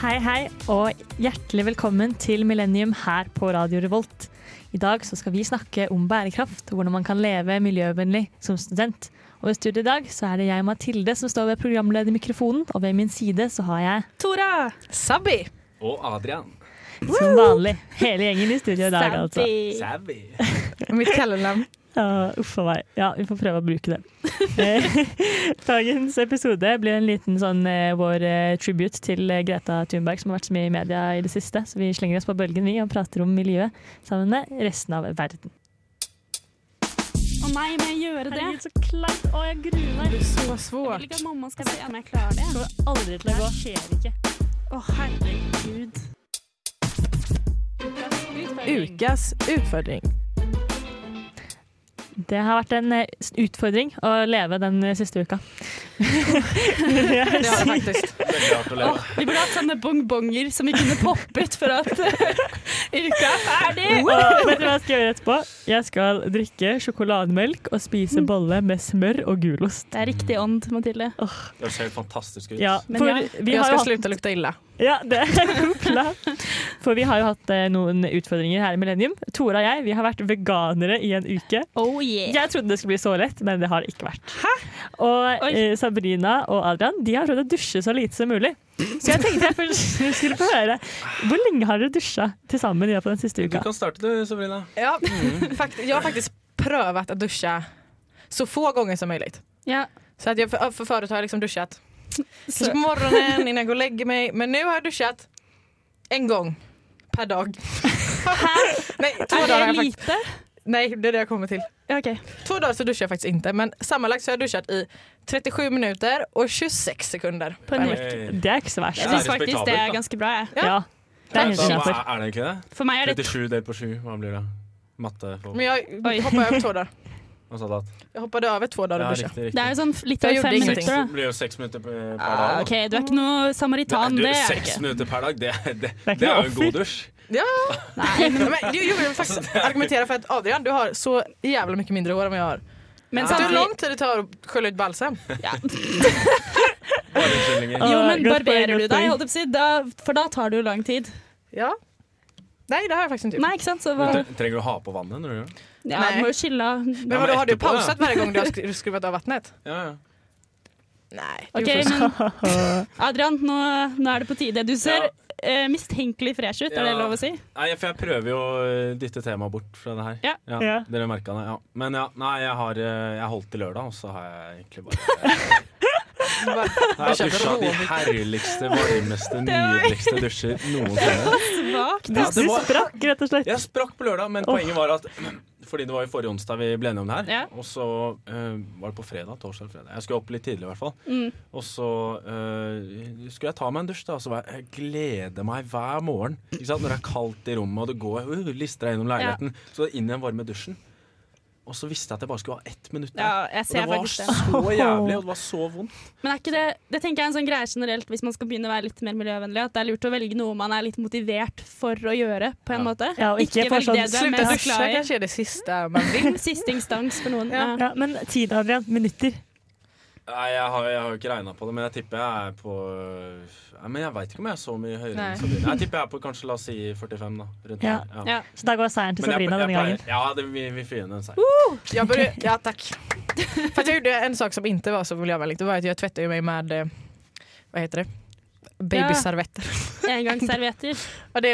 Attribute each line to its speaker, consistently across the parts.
Speaker 1: Hei, hei, og hjertelig velkommen til Millennium her på Radio Revolt. I dag så skal vi snakke om bærekraft, hvordan man kan leve miljøvennlig som student. Og ved studiet i dag så er det jeg, Mathilde, som står ved programledermikrofonen, og ved min side så har jeg,
Speaker 2: Tora! Sabbi!
Speaker 3: Og Adrian.
Speaker 1: som vanlig, hele gjengen i studio i dag, altså.
Speaker 2: Sabbi!
Speaker 3: Savvy.
Speaker 2: Mitt kallenavn.
Speaker 1: Ja, uff a meg. Ja, vi får prøve å bruke det. Eh, Dagens episode blir en liten sånn eh, vår eh, tribute til eh, Greta Thunberg, som har vært så mye i media i det siste. Så vi slenger oss på bølgen, vi, og prater om miljøet sammen med resten av verden.
Speaker 4: Å nei, må jeg gjøre det?
Speaker 1: så kleint! Å, jeg gruer meg.
Speaker 2: Så
Speaker 4: Jeg vil
Speaker 2: svårt.
Speaker 4: ikke at mamma skal se om jeg klarer det.
Speaker 1: kommer aldri til å gå. Det skjer ikke.
Speaker 4: Å herregud.
Speaker 2: Ukas utfordring.
Speaker 1: Det har vært en eh, utfordring å leve den eh, siste uka.
Speaker 2: Det har jeg faktisk.
Speaker 3: Veldig rart å leve.
Speaker 4: Vi burde hatt sånne bongbonger som vi kunne poppet for at eh, uka er ferdig.
Speaker 1: Og vet du hva jeg skal gjøre etterpå? Jeg skal drikke sjokolademelk og spise bolle med smør og gulost.
Speaker 4: Det er riktig ånd, Mathilde.
Speaker 3: Det ser helt fantastisk ut.
Speaker 1: Ja,
Speaker 4: Men
Speaker 1: for
Speaker 4: ja,
Speaker 1: vi
Speaker 2: Jeg
Speaker 1: har jo
Speaker 2: skal
Speaker 1: hatt
Speaker 2: slutte å lukte ille.
Speaker 1: Ja, det er en god plan. For vi har jo hatt eh, noen utfordringer her i Millennium. Tora og jeg vi har vært veganere i en uke.
Speaker 4: Oh yeah.
Speaker 1: Jeg trodde det skulle bli så lett, men det har det ikke vært. Og
Speaker 4: Oi.
Speaker 1: eh, Sabrina og Adrian de har prøvd å dusje så lite som mulig. Så jeg tenkte jeg først skulle få høre Hvor lenge har dere dusja til sammen i løpet av den siste
Speaker 3: Du
Speaker 1: uka?
Speaker 3: kan starte du, Sabrina.
Speaker 2: Ja, fakt jag har faktiskt prövat att duscha så få gånger som möjligt.
Speaker 4: Ja,
Speaker 2: Så att jag, för, för förut har jag liksom duschat kanske på
Speaker 4: så,
Speaker 2: morgonen innan jag går och lägger mig. Men nu har jag duschat en gång per dag. Nej, två
Speaker 4: er
Speaker 2: dagar har jag
Speaker 4: det
Speaker 2: faktiskt.
Speaker 4: lite?
Speaker 2: Nej, det är det jag kommer till.
Speaker 4: Ok.
Speaker 2: Två dagar så duschar jag faktiskt inte. Men sammanlagt så har jag duschat i 37 minuter och 26 sekunder.
Speaker 4: På en
Speaker 2: per
Speaker 4: uke.
Speaker 2: vecka.
Speaker 3: Hey.
Speaker 1: Det er ikke så verst.
Speaker 4: Jeg
Speaker 3: Ja,
Speaker 4: syns
Speaker 3: det er
Speaker 4: faktisk det er
Speaker 3: respektabelt, da.
Speaker 4: ganske bra. jeg.
Speaker 2: Ja.
Speaker 1: Ja, det er helt
Speaker 3: Så, hva,
Speaker 1: innafor.
Speaker 3: er det ikke det?
Speaker 4: For meg er det
Speaker 3: 37 delt på 7, hva blir det? Matte folk.
Speaker 2: Men jag
Speaker 4: Oj.
Speaker 2: hoppade över två dagar.
Speaker 3: Hva sa du at?
Speaker 2: Jag hoppade över två dagar
Speaker 3: Ja,
Speaker 2: och duschade.
Speaker 3: riktig,
Speaker 4: Det er
Speaker 3: riktig.
Speaker 4: jo sånn litt
Speaker 2: Jeg
Speaker 4: over fem
Speaker 2: gjorde
Speaker 3: Seks,
Speaker 4: minutter, da.
Speaker 3: blir jo seks minutter per per dag.
Speaker 4: Ah,
Speaker 3: da.
Speaker 4: OK, du er ikke noe samaritan,
Speaker 3: Nei, du,
Speaker 4: det er du
Speaker 3: seks
Speaker 4: ikke.
Speaker 3: minutter per dag, det, er- det,
Speaker 1: er ikke
Speaker 3: det er jo en
Speaker 1: offer.
Speaker 3: god dusj.
Speaker 2: Nej, men jo, jo, jag vill faktiskt argumentera för att Adrian, du har så jävla mycket mindre hår än vad jag har.
Speaker 4: Men
Speaker 2: Vet du hvor
Speaker 4: samtidig
Speaker 2: lang tid det tar å skjølle ut balsam?
Speaker 3: Bare unnskyldninger.
Speaker 1: Ja.
Speaker 4: Jo, men
Speaker 1: Godt poeng,
Speaker 4: barberer
Speaker 1: godt
Speaker 4: du deg,
Speaker 1: poeng.
Speaker 4: holdt jeg på å si, da, for da tar det jo lang tid.
Speaker 2: Ja. Nei, det har jeg faktisk ikke gjort.
Speaker 4: Nei, ikke sant? Så hva,
Speaker 3: Men tre- Trenger du å ha på vannet når du gjør det?
Speaker 4: ja,
Speaker 2: Nei.
Speaker 4: du må jo skille av.
Speaker 2: Men
Speaker 3: Ja, men
Speaker 2: vadå, har du
Speaker 3: etterpå,
Speaker 2: pausat hver gang du har skru- skruvat av vannet?
Speaker 3: Ja, ja.
Speaker 2: Nei.
Speaker 4: Ok, men Adrian, nå, nå er det på tide. Du ser eh, mistenkelig fresh ut, er det
Speaker 3: Ja.
Speaker 4: lov å si?
Speaker 3: Nei, for jeg prøver jo å eh, dytte temaet bort fra det her.
Speaker 4: Ja.
Speaker 1: Ja.
Speaker 3: Dere merka det, ja. Men ja, nei, jeg har, eh, jeg holdt til lørdag, og så har jeg egentlig bare Jeg har
Speaker 2: kjøper
Speaker 3: dusja de herligste, varmeste, nydeligste dusjer noensinne.
Speaker 4: Svakt.
Speaker 3: Ja,
Speaker 1: Du
Speaker 3: det var,
Speaker 1: sprakk, rett og slett.
Speaker 3: jeg sprakk på lørdag, men poenget var at fordi det var jo forrige onsdag vi ble enige om det her.
Speaker 4: Ja.
Speaker 3: Og så eh, var det på fredag. torsdag eller fredag Jeg skulle opp litt tidlig, i hvert fall.
Speaker 4: Mm.
Speaker 3: Og så eh, skulle jeg ta meg en dusj, da. Og så var jeg, jeg gleder meg hver morgen. Ikke sant? Når det er kaldt i rommet, og det går uh, lister deg gjennom leiligheten. Så inn i den varme dusjen. Og så visste jeg at jeg bare skulle ha ett minutt der.
Speaker 4: Ja, jeg
Speaker 3: og det
Speaker 4: ser
Speaker 3: var
Speaker 4: faktisk det.
Speaker 3: så jævlig, og det var så vondt.
Speaker 4: Men er ikke det, det tenker jeg er en sånn greie generelt hvis man skal begynne å være litt mer miljøvennlig, at det er lurt å velge noe man er litt motivert for å gjøre, på en
Speaker 3: Ja.
Speaker 4: måte.
Speaker 1: Ja, og ikke få
Speaker 4: velg
Speaker 1: sånn
Speaker 4: det du er
Speaker 2: Slutt å
Speaker 4: mest
Speaker 2: dusje
Speaker 4: glad i.
Speaker 2: kanskje er det siste man vil.
Speaker 4: Siste instans for noen.
Speaker 2: Ja.
Speaker 4: Ja.
Speaker 1: Ja, men tid, Adrian. Minutter.
Speaker 3: Nei, jeg har, jeg har jo ikke regna på det, men jeg tipper jeg er på Nei, Men jeg veit ikke om jeg er så mye høyere
Speaker 2: Nei.
Speaker 3: enn Sabrina. Jeg tipper jeg er på kanskje la oss si 45, da. Rundt
Speaker 1: Ja.
Speaker 3: der.
Speaker 4: Ja.
Speaker 1: Så da går seieren til
Speaker 3: Men jeg-
Speaker 1: Sabrina
Speaker 3: jeg
Speaker 1: denne gangen.
Speaker 3: pleier- Ja, det, vi, vi får gi henne en seier.
Speaker 2: Jag började, ja, tack. För att jag gjorde en sak som inte var så miljövänligt. Det var att jag tvättade mig med, eh, vad heter det? Babyservetter.
Speaker 4: Engangsservietter.
Speaker 2: Och det,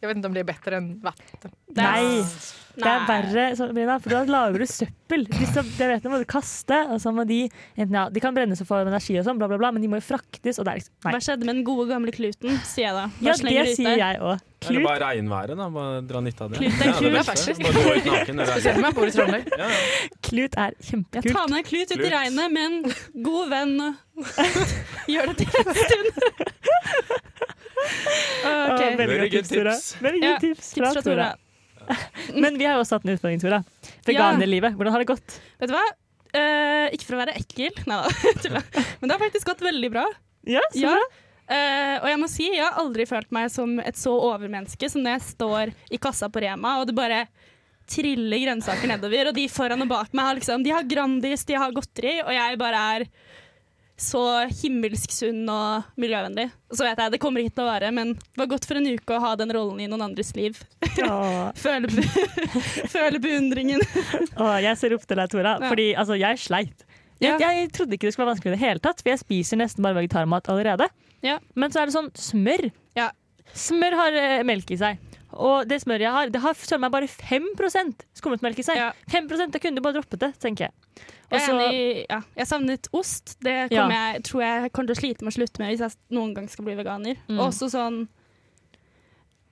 Speaker 2: jag vet inte om det är bättre än vatten.
Speaker 4: Det er-
Speaker 1: Nei. Det er verre, Sabrina, for da lager du søppel. Disse diabetene må du kaste. Og så må de, enten, ja, de kan brennes og få energi, og sånn, bla, bla, bla, men de må jo fraktes. Og det er liksom, nei.
Speaker 4: Hva skjedde med den gode gamle kluten, sier jeg da. Bare
Speaker 1: Ja,
Speaker 4: slenger
Speaker 1: det
Speaker 4: ut
Speaker 1: sier
Speaker 4: der.
Speaker 1: jeg òg.
Speaker 3: Eller
Speaker 1: Klut,
Speaker 3: bare regnværet, da. Bare dra nytte av det.
Speaker 4: Klut er
Speaker 3: ja,
Speaker 4: kul,
Speaker 3: det beste.
Speaker 2: faktisk.
Speaker 3: Bare gå ut naken. når det
Speaker 2: Speciellt
Speaker 3: er-
Speaker 2: om man bor i Trondheim.
Speaker 3: Ja, ja.
Speaker 1: klut er
Speaker 4: Ja,
Speaker 1: kjempekult.
Speaker 4: ta med en klut ut i
Speaker 3: Klut.
Speaker 4: regnet med en god venn og gjør det til en stund. OK.
Speaker 1: Å, Veldig
Speaker 3: Very
Speaker 1: godt
Speaker 3: good
Speaker 1: tips, Tora.
Speaker 3: tips.
Speaker 1: Veldig
Speaker 4: Ja,
Speaker 1: gode tips
Speaker 4: Tips fra Tora.
Speaker 1: Men vi har jo også hatt en utfordring, Tora. Veganerlivet, hvordan har det gått?
Speaker 4: Vet du hva? Eh, ikke for å være ekkel, nei da, tulla. Men det har faktisk gått veldig bra.
Speaker 1: Ja, så
Speaker 4: Ja.
Speaker 1: bra.
Speaker 4: Eh, og jeg må si, jeg har aldri følt meg som et så overmenneske som når jeg står i kassa på Rema og det bare triller grønnsaker nedover, og de foran og bak meg har liksom De har Grandis, de har godteri, og jeg bare er så himmelsk sunn og miljøvennlig. Og så vet jeg, det kommer ikke til å være, men det var godt for en uke å ha den rollen i noen andres liv.
Speaker 1: Åh,
Speaker 4: Føle, be Føle beundringen.
Speaker 1: åh, jeg ser opp til deg, Tora,
Speaker 4: Ja.
Speaker 1: fordi altså, jeg sleit. Jeg, jeg trodde ikke det skulle være vanskelig i det hele tatt, for jeg spiser nesten bare vegetarmat allerede.
Speaker 4: Ja.
Speaker 1: Men så er det sånn smør.
Speaker 4: Ja.
Speaker 1: Smør har eh, melk i seg. Og det smøret jeg har, det har søren meg bare 5 skummet melk i seg.
Speaker 4: Ja.
Speaker 1: 5 Da kunne du bare droppet det, tenker jeg. Og
Speaker 4: Jeg, er
Speaker 1: så-
Speaker 4: enig, i- ja. jeg savnet ost. Det
Speaker 1: Ja.
Speaker 4: kommer jeg, tror jeg kommer til å slite med å slutte med hvis jeg noen gang skal bli veganer.
Speaker 1: Mm.
Speaker 4: Og Også sånn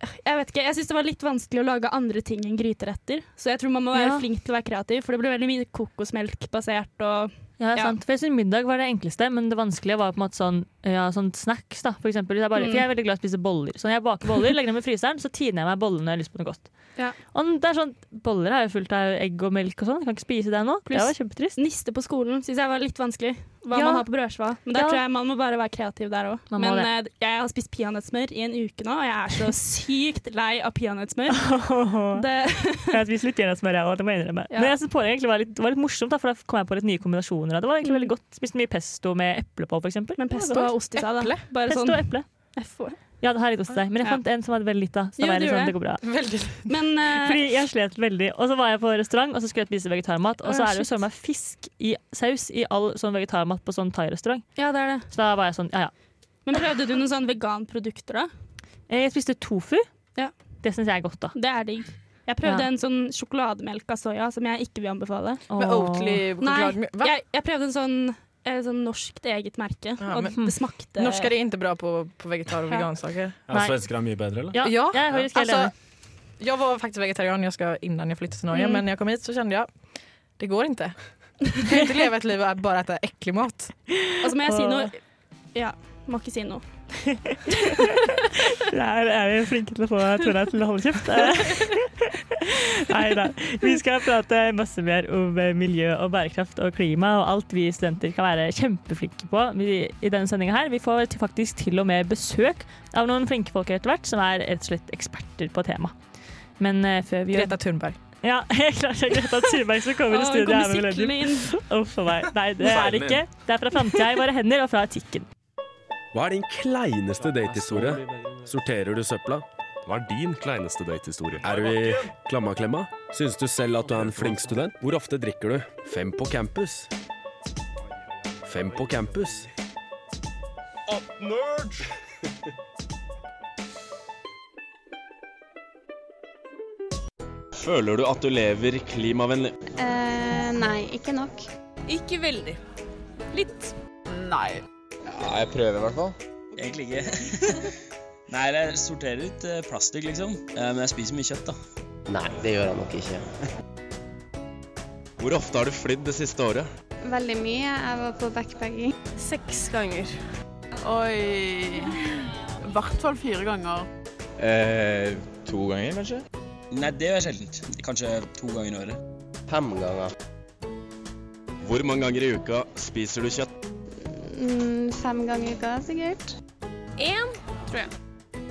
Speaker 4: Jeg vet ikke, jeg syns det var litt vanskelig å lage andre ting enn gryteretter. Så jeg tror man må være
Speaker 1: Ja.
Speaker 4: flink til å være kreativ, for det blir veldig mye kokosmelkbasert og
Speaker 1: Ja,
Speaker 4: Ja.
Speaker 1: sant. For jeg synes middag var det enkleste, men det vanskelige var på en måte sånn, ja, sånn snacks. da, For eksempel. Hvis Jeg bare,
Speaker 4: Mm.
Speaker 1: For jeg er veldig glad i å spise boller. Så når jeg baker boller, legger dem i fryseren, så tiner jeg meg bollene når jeg har lyst på noe godt.
Speaker 4: Ja.
Speaker 1: Og det er sånn, Boller er jo fullt av egg og melk og sånn. Jeg kan ikke spise det nå. Det
Speaker 4: Pluss-
Speaker 1: var kjempetrist.
Speaker 4: Niste på skolen syns jeg var litt vanskelig. Hva
Speaker 1: Ja.
Speaker 4: man har på brødskiva. Men der
Speaker 1: Ja.
Speaker 4: tror jeg man må bare være kreativ der òg.
Speaker 1: Man må
Speaker 4: Men eh, jeg har spist peanøttsmør i en uke nå, og jeg er så sykt lei av peanøttsmør. Det
Speaker 1: Jeg har spist litt gjennomsmør, jeg òg. Det må jeg innrømme.
Speaker 4: Ja.
Speaker 1: Men jeg synes pålegg egentlig var litt, det var litt morsomt, da, for da kom jeg på litt nye kombinasjoner. av Det Det var egentlig veldig godt. Spiste mye pesto med eple på, for eksempel.
Speaker 4: Mm. Men
Speaker 1: Det var
Speaker 4: pesto
Speaker 1: godt.
Speaker 4: og ost i seg, da.
Speaker 2: Eple?
Speaker 4: Bare
Speaker 1: pesto og
Speaker 4: sånn
Speaker 1: eple.
Speaker 4: FO.
Speaker 1: Ja, det har litt ost i seg. Men jeg
Speaker 4: Ja.
Speaker 1: fant en som hadde veldig litt, da. Så da
Speaker 4: Jo,
Speaker 1: var jeg
Speaker 4: du
Speaker 1: litt
Speaker 4: gjorde
Speaker 1: sånn,
Speaker 4: det.
Speaker 1: det går bra.
Speaker 2: Veldig
Speaker 4: Men eh,
Speaker 1: Fordi jeg slet veldig. Og så var jeg på restaurant og så skulle jeg spise vegetarmat. Og så
Speaker 4: Å,
Speaker 1: er det jo
Speaker 4: shit.
Speaker 1: søren meg fisk i saus i all sånn vegetarmat på sånn thai-restaurant.
Speaker 4: Ja, det er det.
Speaker 1: Så da var jeg sånn, ja ja.
Speaker 4: Men prøvde du noen sånne veganprodukter, da?
Speaker 1: Eh, Jeg spiste tofu.
Speaker 4: Ja.
Speaker 1: Det syns jeg er godt, da.
Speaker 4: Det er digg. Jeg prøvde
Speaker 1: Ja.
Speaker 4: en sånn sjokolademelk av soya som jeg ikke vil anbefale.
Speaker 2: Med
Speaker 1: Åh.
Speaker 2: Oatly-sjokolade. Hva?
Speaker 4: Jeg, jeg prøvde en sånn, eh, sånn norskt eget merke,
Speaker 2: Ja,
Speaker 4: og
Speaker 2: men-
Speaker 4: det smakte
Speaker 2: Norsk er ikke bra på, på vegetar- og
Speaker 4: Ja.
Speaker 2: vegansaker.
Speaker 3: Ja,
Speaker 1: Nei.
Speaker 3: Svensker er mye bedre, eller?
Speaker 1: Ja,
Speaker 2: Ja.
Speaker 1: jeg er faktisk
Speaker 4: Altså,
Speaker 1: helt
Speaker 2: Alltså,
Speaker 1: enig.
Speaker 2: jag var faktiskt vegetarian jag ska, innan jag flyttade till Norge
Speaker 4: Mm.
Speaker 2: men när jag kom hit så kände jag det går inte. Jag kan inte leva ett liv och bara äta äcklig mat.
Speaker 4: Og så må jeg si noe Ja, må ikke si noe.
Speaker 1: Der er vi flinke til å få Tora til å holde kjeft. Nei da. Vi skal prate masse mer om eh, miljø og bærekraft og klima og alt vi studenter kan være kjempeflinke på vi, i denne sendinga her. Vi får til- faktisk til og med besøk av noen flinke folk etter hvert, som er rett og slett eksperter på temaet. Men eh, før vi gjør
Speaker 2: Greta Thunberg.
Speaker 1: Ja, helt klart det er Greta Thunberg som kommer i
Speaker 4: Å,
Speaker 1: studio
Speaker 4: kommer
Speaker 1: her med Millennium.
Speaker 4: syklende inn.
Speaker 1: Uff a meg. Nei, det er det ikke. Det er fra framtida i våre hender og fra etikken.
Speaker 5: Hva er din kleineste datehistorie? Sorterer du søpla?
Speaker 6: Hva er din kleineste datehistorie?
Speaker 5: Er du i klammaklemma? Syns du selv at du er en flink student? Hvor ofte drikker du? Fem på campus. Fem på campus. Føler du at du lever klimavennlig?
Speaker 7: Eh, nei, ikke nok.
Speaker 8: Ikke veldig. Litt. Nei.
Speaker 9: Ja, jeg prøver i hvert fall. Egentlig ikke. Nei, jeg sorterer ut eh, plastikk, liksom. Eh, Men jeg spiser mye kjøtt, da. Nei, det gjør jeg nok ikke.
Speaker 5: Hvor ofte har du flydd det siste året?
Speaker 7: Veldig mye. Jeg var på backpacking.
Speaker 8: Seks ganger. Oi. I hvert fall fire ganger.
Speaker 6: Eh, to ganger, kanskje?
Speaker 9: Nei, det gjør jeg sjeldent. Kanskje to ganger i året. Fem ganger.
Speaker 5: Hvor mange ganger i uka spiser du kjøtt?
Speaker 7: Mm, fem ganger i uka, sikkert.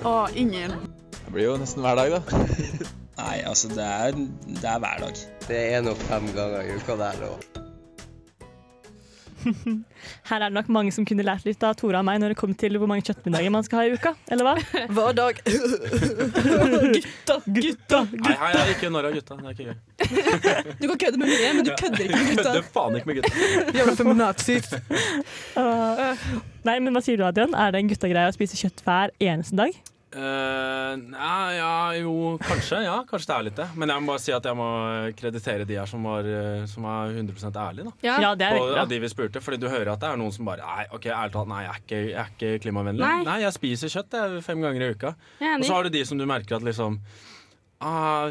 Speaker 8: Og ingen.
Speaker 6: Det blir jo nesten hver dag, da.
Speaker 9: Nei, altså, det er, det er hver dag. Det er nok fem ganger i uka der òg.
Speaker 1: Her er det nok mange som kunne lært litt av Tora og meg når det kom til hvor mange kjøttmiddager man skal ha i uka, eller hva?
Speaker 2: Hver dag.
Speaker 1: Gutta, gutta,
Speaker 3: Nei, nei, nei, ikke narr av gutta. Det er ikke gøy.
Speaker 4: Du kan kødde med mye, men du kødder ikke med gutta.
Speaker 3: Kødder faen ikke med gutta.
Speaker 2: Jävla feminazist.
Speaker 1: Nei, men hva sier du, Adrian? Er det en guttagreie å spise kjøtt hver eneste dag?
Speaker 3: Eh, nei, ja, jo, kanskje. Ja, kanskje det er litt det. Men jeg må bare si at jeg må eh, kreditere de her som var, eh, som var 100 ærlige, da.
Speaker 4: Ja.
Speaker 1: Ja, det er
Speaker 3: Og,
Speaker 1: veldig
Speaker 3: av
Speaker 1: bra.
Speaker 3: de vi spurte, fordi du hører at det er noen som bare Nei, ok, ærlig talt, nei, jeg er ikke, jeg er ikke klimavennlig.
Speaker 4: Nei.
Speaker 3: jeg spiser kjøtt jeg, fem ganger i uka.
Speaker 4: Jeg er
Speaker 3: Og
Speaker 4: enig.
Speaker 3: så har du de som du merker at liksom ah,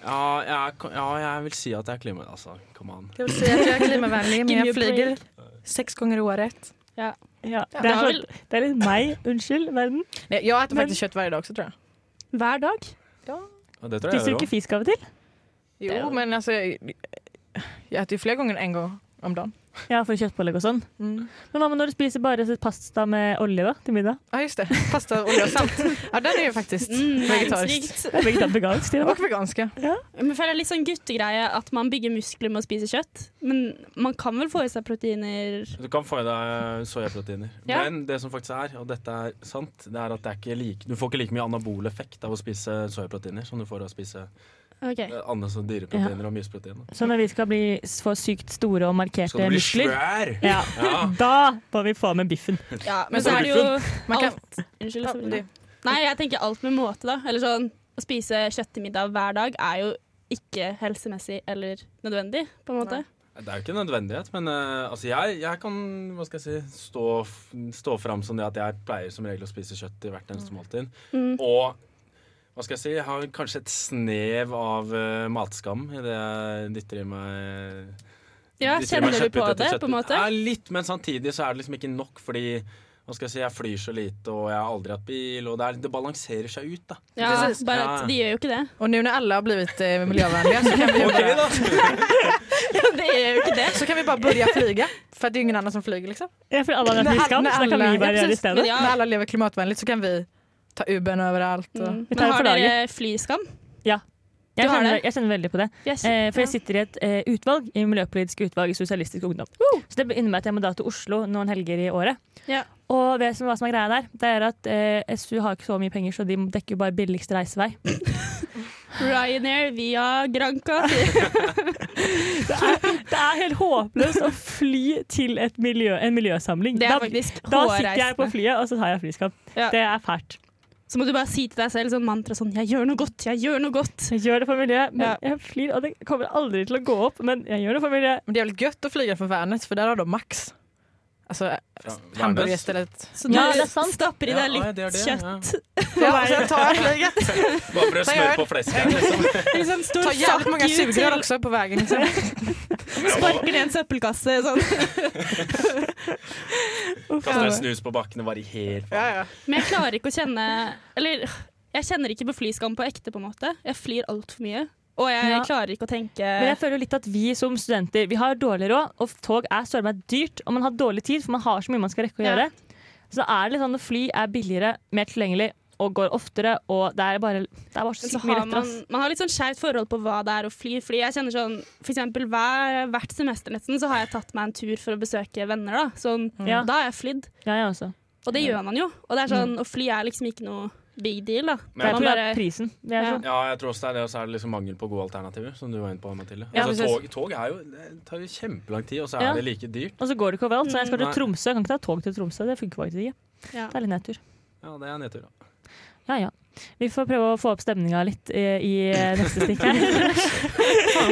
Speaker 3: ja, jeg er, k- ja, jeg vil si at jeg er klima... Altså, come on.
Speaker 2: Jag vill säga att jag är klimatvänlig men
Speaker 4: Give me a
Speaker 2: jag flyger
Speaker 4: break.
Speaker 2: sex gånger i året.
Speaker 1: Ja, det,
Speaker 4: det
Speaker 1: er
Speaker 4: er
Speaker 1: sånn, det er litt meg. Unnskyld, verden.
Speaker 2: Nej, jag äter
Speaker 1: Men-
Speaker 2: faktiskt kött varje dag också tror jeg.
Speaker 4: Hver dag.
Speaker 3: Og det tror
Speaker 1: Spiser
Speaker 3: jeg jeg
Speaker 1: du
Speaker 3: gjør
Speaker 1: ikke fisk av og til?
Speaker 2: altså, Jo men alltså, jag, jag äter ju fler gånger än en gång om dagen.
Speaker 1: Ja, for kjøttpålegg og sånn.
Speaker 4: Mm.
Speaker 1: Men hva med når du spiser bare pasta med olje da, til middag?
Speaker 2: Ja, Ah, just det. Pasta, olje og salt. Ja, den er jo faktisk
Speaker 4: Mm,
Speaker 2: vegetarisk.
Speaker 4: Næringsrikt.
Speaker 1: Det er vegetar- vegansk, til og
Speaker 2: Og
Speaker 1: med.
Speaker 2: vegansk, ja.
Speaker 4: Men jeg føler det er litt sånn guttegreie at man bygger muskler med å spise kjøtt. Men man kan vel få i seg proteiner
Speaker 3: Du kan få i deg soyaproteiner.
Speaker 4: Ja.
Speaker 3: Men det som faktisk er, og dette er sant, det er at det er ikke like, du får ikke like mye anabol effekt av å spise soyaproteiner som du får av å spise eh,
Speaker 4: Ok.
Speaker 3: andre sånne dyreproteiner og myseproteiner.
Speaker 1: Så når vi skal bli, s- få sykt store og
Speaker 3: Skal
Speaker 1: markerte
Speaker 3: du bli
Speaker 1: muskler
Speaker 3: svær?
Speaker 1: ja.
Speaker 3: Ja.
Speaker 1: Da må vi få med biffen.
Speaker 4: Ja, men
Speaker 2: Men
Speaker 4: så
Speaker 2: så
Speaker 4: er det jo
Speaker 2: Man kan-
Speaker 4: alt Unnskyld.
Speaker 2: Ja,
Speaker 4: Sabrina.
Speaker 2: du.
Speaker 4: Nei, jeg tenker alt med måte, da. Eller sånn å spise kjøtt til middag hver dag er jo ikke helsemessig eller nødvendig, på en måte.
Speaker 3: Det er jo ikke en nødvendighet, men eh, altså jeg, jeg kan hva skal jeg si, stå, f- stå fram som det at jeg pleier som regel å spise kjøtt i hvert eneste måltid. Og hva skal jeg si, jeg har kanskje et snev av eh, matskam i det jeg dytter i meg
Speaker 4: Ja,
Speaker 3: dytter i meg
Speaker 4: Kjenner du på
Speaker 3: kjøttbit etter
Speaker 4: det,
Speaker 3: kjøttbit.
Speaker 4: på en måte?
Speaker 3: Ja, litt, men samtidig så er det liksom ikke nok, fordi hva skal jeg si, jeg flyr så lite, og jeg har aldri hatt bil, og det, er, det balanserer seg ut, da.
Speaker 4: Ja,
Speaker 2: Precis.
Speaker 4: bare
Speaker 3: Ja.
Speaker 4: at de gjør jo ikke det.
Speaker 2: Og nå når alle har blitt eh, miljövänliga så kan vi ju
Speaker 3: Ok,
Speaker 2: bara,
Speaker 3: da.
Speaker 4: Det gjør jo ikke det.
Speaker 2: så kan vi bara börja flyga. För att det är ju ingen annan som flyger liksom.
Speaker 1: Ja, for alle har
Speaker 2: När
Speaker 1: vært
Speaker 2: all-
Speaker 1: skam,
Speaker 2: när
Speaker 1: så da kan
Speaker 2: alla-
Speaker 1: vi bare
Speaker 2: ja,
Speaker 1: gjøre det i
Speaker 2: precis.
Speaker 1: stedet.
Speaker 4: Men ja.
Speaker 2: När alla lever klimatvänligt så kan vi ta Ubern överallt. Och...
Speaker 4: Mm.
Speaker 1: Vi tar
Speaker 4: Men
Speaker 1: det for
Speaker 4: har
Speaker 1: laget.
Speaker 4: dere flyskam?
Speaker 1: Jeg
Speaker 4: Du har
Speaker 1: kjenner,
Speaker 4: det?
Speaker 1: jeg kjenner veldig på det.
Speaker 4: Yes.
Speaker 1: Eh, for jeg sitter i et eh, utvalg i Miljøpolitisk utvalg i Sosialistisk Ungdom. Så det innebærer at jeg må da til Oslo noen helger i året.
Speaker 4: Ja.
Speaker 1: Og det som, hva som er greia der, det er at eh, SU har ikke så mye penger, så de dekker jo bare billigste reisevei.
Speaker 4: Ryanair via Granca.
Speaker 1: Det er helt håpløst å fly til et miljø, en miljøsamling.
Speaker 4: Det er
Speaker 1: Da,
Speaker 4: faktisk
Speaker 1: da sitter jeg på
Speaker 4: hårreisende.
Speaker 1: flyet, og så tar jeg flyskam.
Speaker 4: Ja.
Speaker 1: Det er fælt.
Speaker 4: Så må du bare si til deg selv sånn mantra sånn 'jeg gjør noe godt', 'jeg gjør noe godt'.
Speaker 1: Jeg gjør det for miljøet, men
Speaker 4: Ja.
Speaker 1: jeg flyr, og det kommer aldri til å gå opp, men jeg gjør det for miljøet.
Speaker 2: Men det är väl gött att flyga från Värnäs för där har de Max. Alltså
Speaker 3: Fra-
Speaker 2: hamburgerstället.
Speaker 4: Så du
Speaker 1: Ja, det er sant.
Speaker 4: stapper i
Speaker 3: Ja,
Speaker 4: deg
Speaker 3: ja,
Speaker 4: litt
Speaker 3: det er det, ja.
Speaker 4: kjøtt.
Speaker 2: Ja, och sen tar jag flyget.
Speaker 3: Bare for å smøre på flesket. Liksom.
Speaker 4: En sånn stor
Speaker 2: Tar jävligt många
Speaker 4: fuck you
Speaker 2: sugrör
Speaker 4: til
Speaker 2: också på vägen. Liksom.
Speaker 4: Sparker ned en søppelkasse sånn.
Speaker 3: Kaster en snus på bakken og bare helt faen.
Speaker 2: Ja, ja.
Speaker 4: Men jeg klarer ikke å kjenne Eller jeg kjenner ikke på flyskam på ekte, på en måte. Jeg flyr altfor mye. Og jeg
Speaker 1: Ja.
Speaker 4: klarer ikke å tenke
Speaker 1: Men jeg føler jo litt at vi som studenter Vi har dårlig råd, og tog er søren meg dyrt. Og man har dårlig tid, for man har så mye man skal rekke å
Speaker 4: Ja.
Speaker 1: gjøre. Så da er det litt sånn at fly er billigere, mer tilgjengelig og går oftere. Og det er bare, det er bare så
Speaker 4: Men så
Speaker 1: sykt mye
Speaker 4: har
Speaker 1: lettere.
Speaker 4: man,
Speaker 1: ass.
Speaker 4: man har litt sånn skjevt forhold på hva det er å fly. Fordi jeg kjenner sånn, for eksempel hver, Hvert semester nesten så har jeg tatt meg en tur for å besøke venner. Da sånn,
Speaker 1: Ja.
Speaker 4: da har jeg flydd,
Speaker 1: Ja, altså. jeg også.
Speaker 4: og det gjør man jo. Og det er sånn,
Speaker 1: Mm.
Speaker 4: å fly er liksom ikke noe big deal. da
Speaker 1: Det
Speaker 3: Men-
Speaker 1: er
Speaker 4: man
Speaker 1: på grunn av
Speaker 4: bare,
Speaker 1: prisen. Det er
Speaker 4: Ja.
Speaker 1: sånn.
Speaker 3: Ja, jeg tror også det er det, og så er det liksom mangel på gode alternativer, som du var inne på, Mathilde.
Speaker 2: Ja,
Speaker 3: altså, tog,
Speaker 2: precis.
Speaker 3: tog er jo, det tar jo kjempelang tid, og så er
Speaker 1: Ja.
Speaker 3: det like dyrt.
Speaker 1: Og så går det ikke overalt. Så jeg skal til
Speaker 3: Nei.
Speaker 1: Tromsø. Jeg kan ikke ta tog til Tromsø. Det funker faktisk ikke.
Speaker 4: Ja.
Speaker 1: Det er litt nedtur.
Speaker 3: Ja, det er nedtur. da.
Speaker 1: Ja, ja. Vi får prøve å få opp stemninga litt eh, i eh, neste stikk her.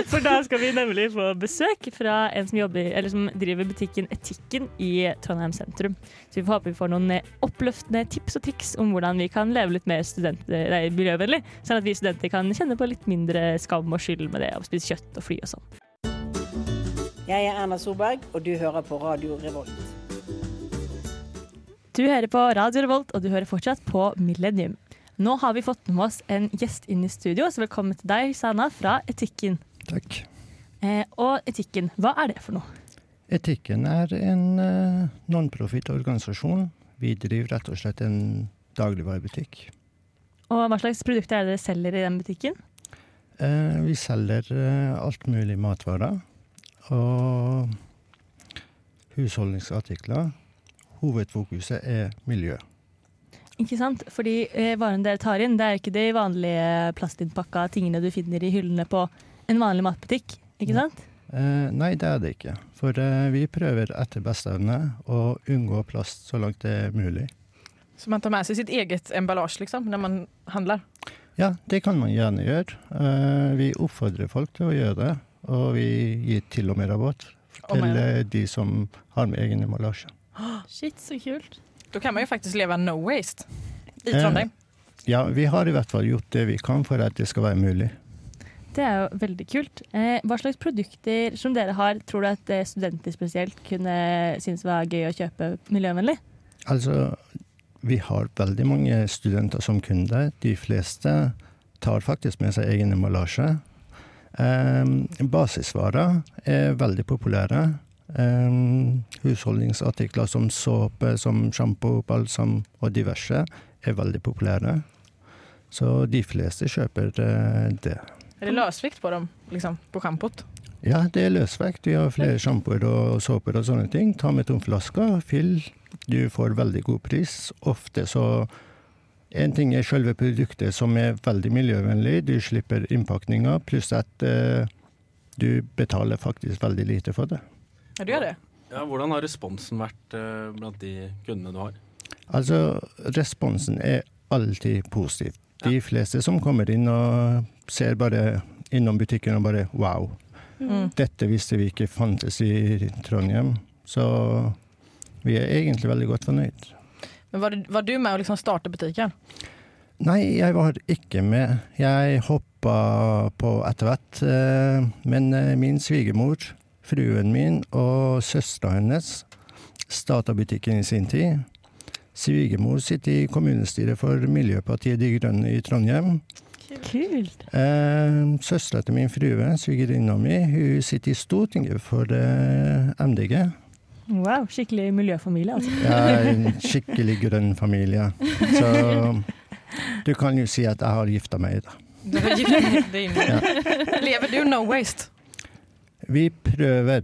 Speaker 1: For da skal vi nemlig få besøk fra en som, jobber, eller som driver butikken Etikken i Trondheim sentrum. Så vi får håpe vi får noen eh, oppløftende tips og triks om hvordan vi kan leve litt mer student, eh, nei, miljøvennlig, sånn at vi studenter kan kjenne på litt mindre skam og skyld med det å spise kjøtt og fly og sånn.
Speaker 10: Jeg er Erna Solberg, og du hører på Radio Revolt.
Speaker 1: Du hører på Radio Revolt, og du hører fortsatt på Millennium. Nå har vi fått med oss en gjest inn i studio, så velkommen til deg, Sana, fra Etikken.
Speaker 11: Takk.
Speaker 1: Eh, og etikken, hva er det for noe?
Speaker 11: Etikken er en eh, non-profit organisasjon. Vi driver rett og slett en dagligvarebutikk.
Speaker 1: Og hva slags produkter er det dere selger i den butikken?
Speaker 11: Eh, vi selger eh, alt mulig matvarer og husholdningsartikler. Hovedfokuset er miljø.
Speaker 1: Ikke sant? Fordi eh, varene dere tar inn, det er ikke de vanlige plastinnpakka tingene du finner i hyllene på en vanlig matbutikk. Ikke sant?
Speaker 11: Eh, nei, det er det ikke. For eh, vi prøver etter beste evne å unngå plast så langt det er mulig.
Speaker 2: Så man tar med sig sitt eget emballage liksom, när man handlar.
Speaker 11: Ja, det kan man gjerne gjøre. Eh, vi oppfordrer folk til å gjøre det, og vi gir til og med rabatt
Speaker 2: Om man-
Speaker 11: til eh, de som har med egen emballasje.
Speaker 4: Shit, så kult.
Speaker 2: Då kan man ju faktiskt leva no waste i
Speaker 11: Eh,
Speaker 2: Trondheim.
Speaker 11: Ja, vi har i hvert fall gjort det vi kan for at det skal være mulig.
Speaker 1: Det er jo veldig kult. Eh, hva slags produkter som dere har, tror du at eh, studenter spesielt kunne synes var gøy å kjøpe miljøvennlig?
Speaker 11: Altså, vi har veldig mange studenter som kunder. De fleste tar faktisk med seg egen emballasje. Eh, basisvarer er veldig populære. Eh, Ehm, husholdningsartikler som såpe, som sjampo, balsam og diverse er veldig populære. Så de fleste kjøper eh, det.
Speaker 2: Är det lösvikt på dem, liksom, på schampot?
Speaker 11: Ja, det er løsvekt. Vi har flere sjampoer og såper og sånne ting. Ta med tom flaske, fyll. Du får veldig god pris. Ofte så En ting er selve produktet, som er veldig miljøvennlig. Du slipper innpakninga, pluss at eh, du betaler faktisk veldig lite for det.
Speaker 2: Ja, du gjør det.
Speaker 3: Ja, hvordan har responsen vært eh, blant de kundene du har?
Speaker 11: Altså, responsen er alltid positiv. De fleste som kommer inn og ser bare innom butikken og bare wow.
Speaker 2: Mm.
Speaker 11: Dette visste vi ikke fantes i Trondheim. Så vi er egentlig veldig godt fornøyd.
Speaker 2: Men var, det- var du med och liksom startade butiken?
Speaker 11: Nei, jeg var ikke med. Jeg hoppa på etter hvert. eh, Men eh, min svigermor, fruen min og søstera hennes starta butikken i sin tid. Svigermor sitter i kommunestyret for Miljøpartiet De Grønne i Trondheim.
Speaker 1: Kult.
Speaker 11: Eh, Søstera til min frue, svigerinna mi, hun sitter i Stortinget for eh, MDG.
Speaker 1: Wow, skikkelig miljøfamilie, altså.
Speaker 11: Jeg er en skikkelig grønn familie. Så du kan jo si at jeg har gifta meg, da.
Speaker 2: Du har gift dig in.
Speaker 11: Ja.
Speaker 2: Lever du no waste?
Speaker 11: Vi prøver.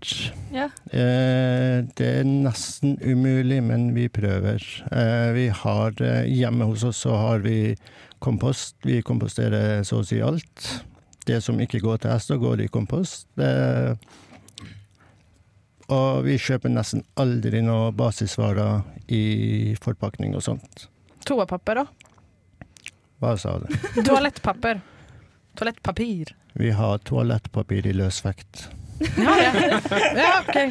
Speaker 2: Ja.
Speaker 11: Eh, det er nesten umulig, men vi prøver. Eh, vi har, eh, hjemme hos oss så har vi kompost. Vi komposterer så å si alt. Det som ikke går til hest, da går det i kompost. Eh, og vi kjøper nesten aldri noe basisvarer i forpakning og sånn. sånt.
Speaker 2: Toapapper då?
Speaker 11: Hva sa du?
Speaker 2: Toalettpapper? Toalettpapir?
Speaker 11: Vi har toalettpapir i løsvekt.
Speaker 2: Ja, okej.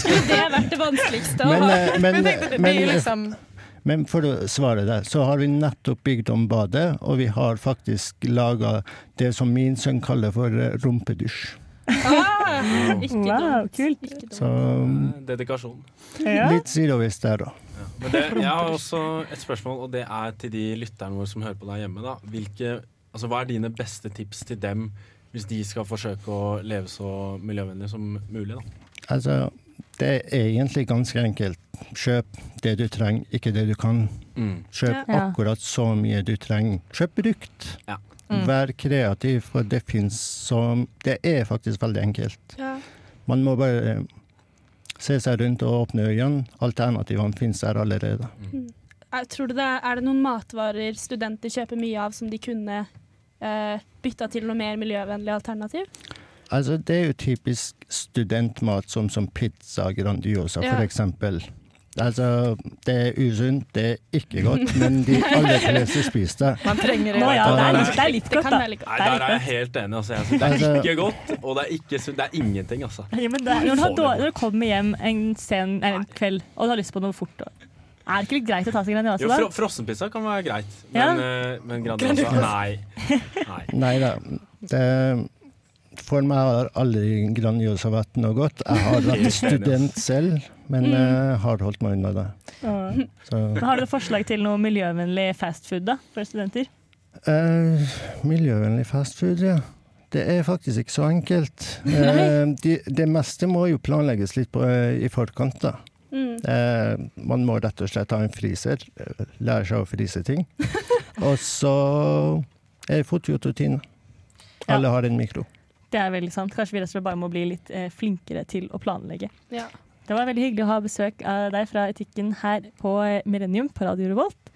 Speaker 4: Skulle det vært det vanskeligste å
Speaker 11: Men,
Speaker 4: ha?
Speaker 11: eh, men-
Speaker 4: Jeg tenkte det, det er
Speaker 11: men-
Speaker 4: jo liksom
Speaker 11: Men for å svare deg, så har vi nettopp bygd om badet, og vi har faktisk laga det som min sønn kaller for eh, rumpedusj.
Speaker 1: Ikke wow, kult.
Speaker 11: Så
Speaker 3: Dedikasjon.
Speaker 11: litt sidevis der, da.
Speaker 3: Men det, jeg har også et spørsmål, og det er til de lytterne våre som hører på deg hjemme. Da. Hvilke, altså, hva er dine beste tips til dem hvis de skal forsøke å leve så miljøvennlig som mulig? Da?
Speaker 11: Altså, det er egentlig ganske enkelt. Kjøp det du trenger, ikke det du kan.
Speaker 3: Mm.
Speaker 11: Kjøp
Speaker 3: Ja.
Speaker 11: akkurat så mye du trenger. Kjøp brukt.
Speaker 3: Mm.
Speaker 11: Vær kreativ, for det fins som Det er faktisk veldig enkelt.
Speaker 4: Ja.
Speaker 11: Man må bare eh, se seg rundt og åpne øynene. Alternativene finnes der allerede.
Speaker 4: Er- Eh, Tror du det er, er det noen matvarer studenter kjøper mye av som de kunne eh, bytta til noe mer miljøvennlig alternativ?
Speaker 11: Altså, det er jo typisk studentmat, som, som pizza Grandiosa
Speaker 4: Ja.
Speaker 11: for eksempel. Altså, det er usunt, det er ikke godt, men de aller fleste spiser det.
Speaker 2: Man trenger det.
Speaker 11: Nå ja, det er litt- det er
Speaker 1: litt
Speaker 4: godt, da.
Speaker 3: Nei, der er jeg helt enig. Altså. Jeg synes det
Speaker 11: Altså-
Speaker 3: er ikke godt, og det er, ikke, sunt. det er ingenting, altså.
Speaker 1: Ja, men det er, når, du har dår- når du kommer hjem en sen nei, en kveld og du har lyst på noe fort, og- er det ikke litt greit å ta seg en
Speaker 4: Altså
Speaker 3: Jo,
Speaker 1: Grandiosa
Speaker 3: fro
Speaker 1: da?
Speaker 3: frossenpizza kan være greit,
Speaker 1: Ja.
Speaker 3: men, eh, men Grandiosa Nei. nei.
Speaker 11: Nei da. Det, for meg har aldri Grandiosa vært noe godt. Jeg har vært student selv, men
Speaker 1: Mm.
Speaker 11: eh, har holdt meg unna det.
Speaker 1: Ja.
Speaker 11: Så.
Speaker 1: Men Har du noe forslag til noe miljøvennlig fastfood da, for studenter?
Speaker 11: Eh, miljøvennlig fastfood, ja. Det er faktisk ikke så enkelt. Eh, de, det meste må jo planlegges litt på, eh, i forkant, da.
Speaker 4: Mm.
Speaker 11: Eh, man må rett og slett ha en fryser, eh, lære seg å fryse ting. og så er fotojototin. Alle har en mikro.
Speaker 1: Det er veldig sant. Kanskje vi rett og slett bare må bli litt eh, flinkere til å planlegge.
Speaker 4: Ja.
Speaker 1: Det var veldig hyggelig å ha besøk av deg fra Etikken her på eh, Millennium på Radio Revolt.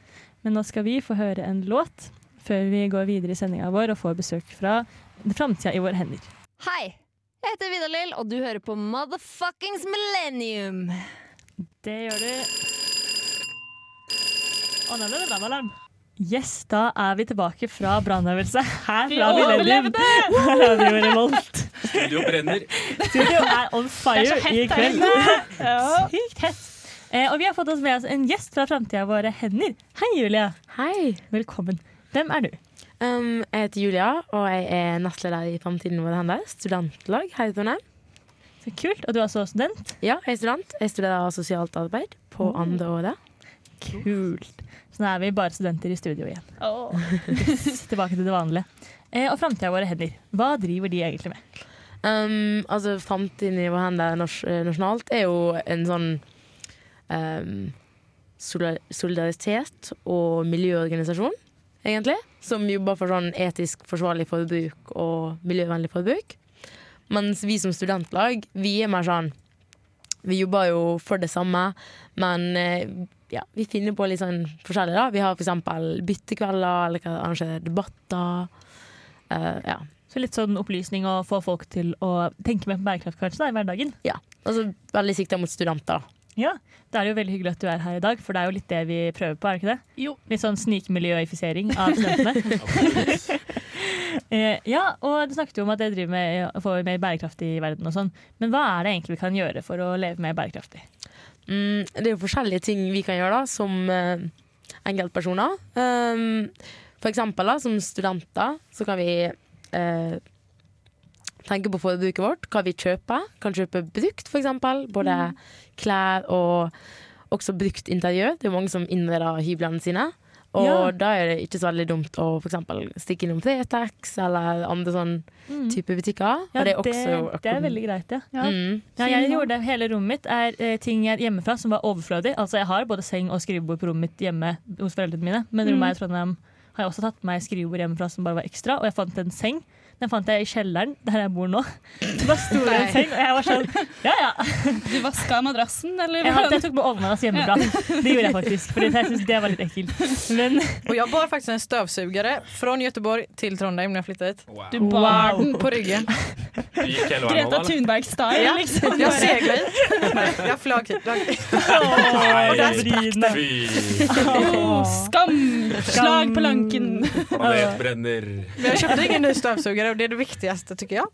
Speaker 1: Men nå skal vi få høre en låt før vi går videre i sendinga vår og får besøk fra Framtida i våre hender.
Speaker 12: Hei! Jeg heter Vidar Lill, og du hører på Motherfuckings Millennium.
Speaker 1: Det gjør du. Å, nå ble det brannalarm. Yes, da er vi tilbake fra brannøvelse her
Speaker 4: Vi
Speaker 1: fra Millennium.
Speaker 4: overlevde!
Speaker 1: Her har vi vært voldt.
Speaker 3: Studio brenner.
Speaker 1: Studio er on
Speaker 4: Det
Speaker 1: fire
Speaker 4: er så hett
Speaker 1: i
Speaker 4: der
Speaker 1: kveld.
Speaker 4: inne. Ja.
Speaker 1: Sykt hett. Eh, og vi har fått oss med oss en gjest fra framtida våre hender. Hei, Julia.
Speaker 13: Hei.
Speaker 1: Velkommen. Hvem er du?
Speaker 13: Um, jeg heter Julia, og jeg er nestleder i Framtiden vår hender, studentlag her i Trondheim.
Speaker 1: Så kult. Og du er også student?
Speaker 13: Ja, jeg er student. Jeg studerer sosialt arbeid på
Speaker 1: Mm.
Speaker 13: andre året.
Speaker 1: Kult. Så nå er vi bare studenter i studio igjen. Yes, tilbake til det vanlige. Eh, og framtida våre hender, hva driver de egentlig med?
Speaker 13: Um, altså, framtiden i Vårhenda nas eh, nasjonalt er jo en sånn um, solidar- solidaritet og miljøorganisasjon, egentlig. Som jobber for sånn etisk forsvarlig forbruk og miljøvennlig forbruk. Mens vi som studentlag, vi er mer sånn Vi jobber jo for det samme, men eh, ja, vi finner på litt sånn forskjellig, da. Vi har f.eks. byttekvelder, eller kan arrangere debatter. Eh, ja.
Speaker 1: Så litt sånn opplysning og få folk til å tenke mer på bærekraft kanskje da, i hverdagen.
Speaker 13: Ja, altså veldig sikta mot studenter.
Speaker 1: Ja, Det er jo veldig hyggelig at du er her i dag, for det er jo litt det vi prøver på. er det ikke det? Jo. Litt sånn snikmiljøifisering av studentene. Eh, ja, og Du snakket jo om at dere driver med å få mer bærekraft i verden. og sånn. Men hva er det egentlig vi kan gjøre for å leve mer bærekraftig?
Speaker 13: Mm, det er jo forskjellige ting vi kan gjøre da, som eh, enkeltpersoner. Um, for eksempel da, som studenter så kan vi eh, tenke på forbruket vårt, hva vi kjøper. Kan kjøpe brukt for eksempel, både klær og også brukt interiør. Det er jo mange som innreder hyblene sine. Og
Speaker 1: Ja.
Speaker 13: da er det ikke så veldig dumt å for eksempel stikke innom Fretex eller andre sånn
Speaker 1: Mm.
Speaker 13: type butikker.
Speaker 1: Ja,
Speaker 13: og det er også
Speaker 1: det, det er veldig greit, ja. Ja.
Speaker 13: Mm.
Speaker 1: ja jeg gjorde det. Hele rommet mitt er eh, ting jeg- hjemmefra som var overflødig. Altså Jeg har både seng og skrivebord på rommet mitt hjemme hos foreldrene mine. Men
Speaker 13: Mm.
Speaker 1: rommet her i Trondheim har jeg også tatt med meg skrivebord hjemmefra som bare var ekstra. Og jeg fant en seng. Den fant jeg i kjelleren der jeg bor nå. Det bare sto det
Speaker 4: Nei.
Speaker 1: en seng, og jeg var sånn ja ja.
Speaker 4: Du vaska madrassen, eller?
Speaker 1: Jeg, hadde, jeg tok med ovnen hans hjemmefra. Det gjorde jeg faktisk, for jeg syntes det var litt ekkelt. Men
Speaker 2: Och jag bar faktiskt en stövsugare från Göteborg till Trondheim när jag flyttade hit.
Speaker 4: Du bar
Speaker 2: Wow.
Speaker 4: den
Speaker 2: på ryggen.
Speaker 3: Du gikk hele veien nå,
Speaker 4: Greta
Speaker 3: da?
Speaker 4: Thunberg-style,
Speaker 2: Ja.
Speaker 4: liksom.
Speaker 2: Jag
Speaker 4: bare.
Speaker 2: seglade hit. Jag flög hit.
Speaker 3: Nei,
Speaker 4: der
Speaker 1: sprakk
Speaker 3: fy.
Speaker 4: Jo, skam! Slag på lanken.
Speaker 3: Planetbrenner.
Speaker 2: Men jag köpte ingen ny stövsugare och det är det viktigaste tycker jag.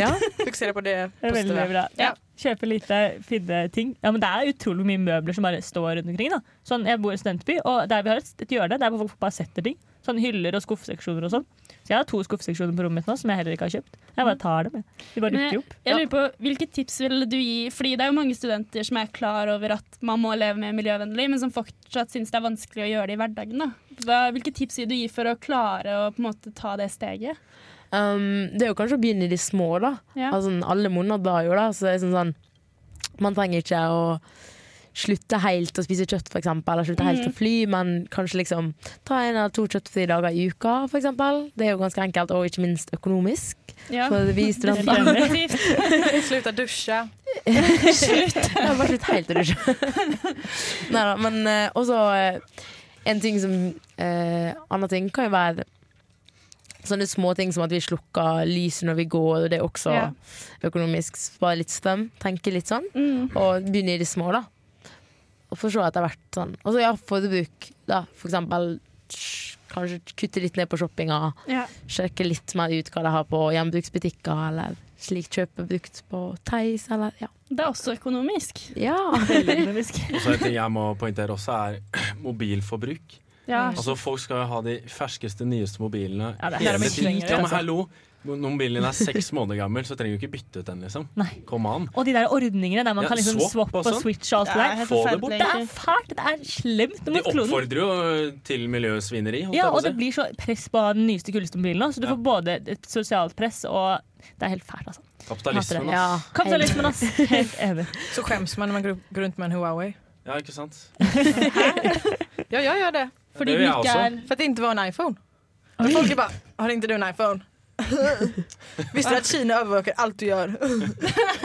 Speaker 13: Ja.
Speaker 2: Fokusera på det
Speaker 1: Det er veldig
Speaker 2: positiva.
Speaker 1: bra. Ja. Kjøpe lite, finne ting. Ja, men det er utrolig mye møbler som bare står rundt omkring. Da. Sånn, jeg bor i en studentby, og der vi har et et hjørne der hvor folk bare setter ting. Sånn Hyller og skuffseksjoner og sånn. Så jeg har to skuffseksjoner på rommet mitt nå som jeg heller ikke har kjøpt. Jeg bare tar dem. jeg. De bare
Speaker 4: Men
Speaker 1: dukker
Speaker 4: jeg,
Speaker 1: opp.
Speaker 4: jeg lurer på, Hvilke tips vil du gi? Fordi Det er jo mange studenter som er klar over at man må leve mer miljøvennlig, men som fortsatt syns det er vanskelig å gjøre det i hverdagen. da. Hva, hvilke tips vil du gi for å klare å på en måte ta det steget?
Speaker 13: Um, det er jo kanskje å begynne i de små, da.
Speaker 4: Ja.
Speaker 13: Altså, alle måneder jo, da. Så det er sånn sånn Man trenger ikke å slutte helt å spise kjøtt, for eksempel, eller slutte helt
Speaker 4: Mhm.
Speaker 13: å fly, men kanskje liksom ta en eller to kjøttfrie dager i uka, for eksempel. Det er jo ganske enkelt, og ikke minst økonomisk.
Speaker 2: Ja.
Speaker 13: For vi studenter.
Speaker 2: Definitivt. Sluta duscha.
Speaker 13: Slutt! Jeg har bare slutt helt å dusje. Nei da, men eh, også eh, en ting som eh, Annen ting kan jo være sånne små ting som at vi slukker lyset når vi går, og det er også
Speaker 4: Ja.
Speaker 13: økonomisk. Spare litt strøm, tenke litt sånn,
Speaker 4: Mm.
Speaker 13: og begynne i det små, da. Og for så etter hvert sånn. Og så ja, forbruk, da. For eksempel sj- kanskje kutte litt ned på shoppinga.
Speaker 4: Ja.
Speaker 13: Sjekke litt mer ut hva de har på gjenbruksbutikker, eller slik kjøpe brukt på Theis, eller ja.
Speaker 4: Det er også økonomisk.
Speaker 13: Ja.
Speaker 3: Og så en ting jeg må poengtere også, er mobilforbruk.
Speaker 4: Ja.
Speaker 3: Altså Folk skal jo ha de ferskeste, nyeste mobilene
Speaker 1: Ja, det er
Speaker 3: hele
Speaker 1: mye
Speaker 3: tiden.
Speaker 1: strengere,
Speaker 3: Ja, men
Speaker 1: altså.
Speaker 3: hallo! Når mobilen din er seks måneder gammel, så trenger du ikke bytte ut den, liksom. Kom an.
Speaker 1: Og de der ordningene der man
Speaker 3: Ja,
Speaker 1: kan liksom
Speaker 3: swap
Speaker 1: swap
Speaker 3: og
Speaker 1: og
Speaker 3: sånn.
Speaker 1: switch og alt
Speaker 3: Det er
Speaker 1: det der.
Speaker 3: helt Få det bort.
Speaker 1: Det er fælt! Det er slemt
Speaker 3: De
Speaker 1: mot kloden.
Speaker 3: oppfordrer jo øh, til miljøsvineri. holdt
Speaker 1: Ja,
Speaker 3: jeg på å
Speaker 1: og
Speaker 3: si.
Speaker 1: det blir så press på den nyeste kuleste mobilen nå, så du
Speaker 3: Ja.
Speaker 1: får både et sosialt press og Det er helt fælt, altså. Hater det.
Speaker 3: Kapitalismen, ass.
Speaker 1: Ja. Kapitalismen, ass. Helt enig.
Speaker 2: Så skäms man när man går går runt med en Huawei.
Speaker 3: Ja, ikke sant?
Speaker 2: Ja, jag gör det.
Speaker 3: För det gör jag också.
Speaker 2: För att det inte var en iPhone. Och folk är bara, har inte du en iPhone? Visste du att Kina övervakar allt du gör?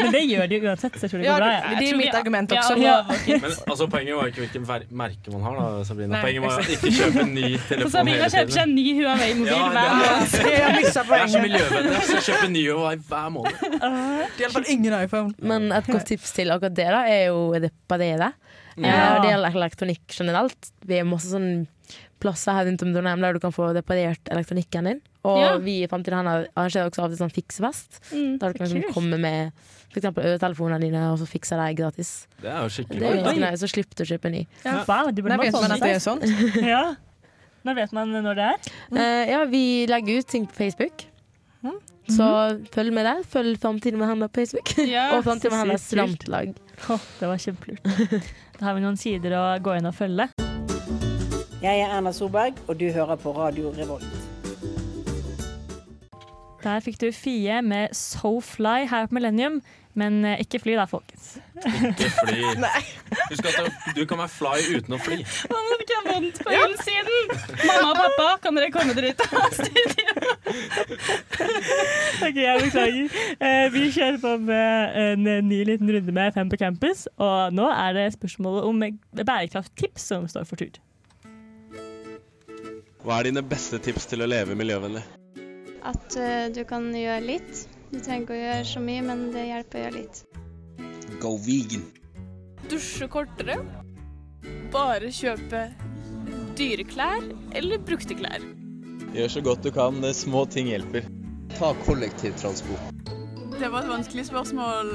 Speaker 1: Men det gjør de jo uansett, så jeg tror det
Speaker 2: Ja,
Speaker 1: går bra.
Speaker 2: det- det er mitt argument også.
Speaker 3: Men altså, poenget var ikke hvilken ver- merke man har, da, Sabrina.
Speaker 4: Nei,
Speaker 3: poenget var
Speaker 4: exakt.
Speaker 3: ikke kjøpe en ny
Speaker 4: Så
Speaker 3: telefon
Speaker 4: Sabrina
Speaker 3: hele
Speaker 4: kjøper seg
Speaker 3: tiden.
Speaker 4: en ny Huawei-mobil
Speaker 3: Ja,
Speaker 4: hver måned.
Speaker 3: det- Jeg er så miljøvennlig, ass. jeg kjøper ny Huawei hver måned.
Speaker 2: Det hjelper ingen iPhone.
Speaker 13: Men et godt tips til akkurat det da, er jo å reparere.
Speaker 2: Ja.
Speaker 13: Eh, og Det gjelder elektronikk generelt. Vi har masse sånn plasser her rundt om Trondheim der du kan få reparert elektronikken din. Og
Speaker 4: Ja.
Speaker 13: vi i Framtiden Hender arrangerer også av og til sånn fiksefest.
Speaker 4: Mm,
Speaker 13: der du kan
Speaker 4: så
Speaker 13: liksom
Speaker 4: kult.
Speaker 13: komme med f.eks. øretelefonene dine, og så fikser de gratis.
Speaker 3: Det er jo
Speaker 13: Det
Speaker 3: skikkelig
Speaker 13: er jo
Speaker 3: bra.
Speaker 13: ganske nice, så slipper du å kjøpe ny.
Speaker 1: Ja, faen, de burde
Speaker 13: Nei,
Speaker 1: bare
Speaker 13: vet
Speaker 1: få
Speaker 13: man
Speaker 1: med
Speaker 13: at det
Speaker 1: seg. ja. Når vet man når det er?
Speaker 13: Eh, ja, vi legger ut ting på Facebook.
Speaker 1: Hm.
Speaker 13: Så følg med der. Følg Framtiden med hender på Facebook.
Speaker 1: Mhm. Ja,
Speaker 13: og Framtiden med
Speaker 1: så
Speaker 13: hender
Speaker 1: sykt kult.
Speaker 13: studentlag.
Speaker 1: Å, det var kjempelurt. Da har vi noen sider å gå inn og følge.
Speaker 10: Jeg er Erna Solberg, og du hører på Radio Revolt.
Speaker 1: Der fikk du Fie med So Fly her på Millennium, men eh, ikke fly da, folkens.
Speaker 3: Ikke fly. Husk at du- du kan være fly uten å fly.
Speaker 4: Man må ikke ha vondt på innsiden! Mamma og pappa, kan dere komme dere ut av studio?
Speaker 1: Ok, jeg beklager. Eh, vi kjører på med en ny liten runde med Fem på campus. Og nå er det spørsmålet om bærekrafttips som står for tur.
Speaker 6: Hva er dine beste tips til å leve miljøvennlig?
Speaker 7: At eh, du kan gjøre litt. Du trenger ikke å gjøre så mye, men det hjelper å gjøre litt.
Speaker 9: Go vegan.
Speaker 8: Dusje kortere. Bare kjøpe dyre klær eller brukte klær.
Speaker 6: Gjør så godt du kan. Små ting hjelper. Ta kollektivtransport.
Speaker 8: Det var et vanskelig spørsmål.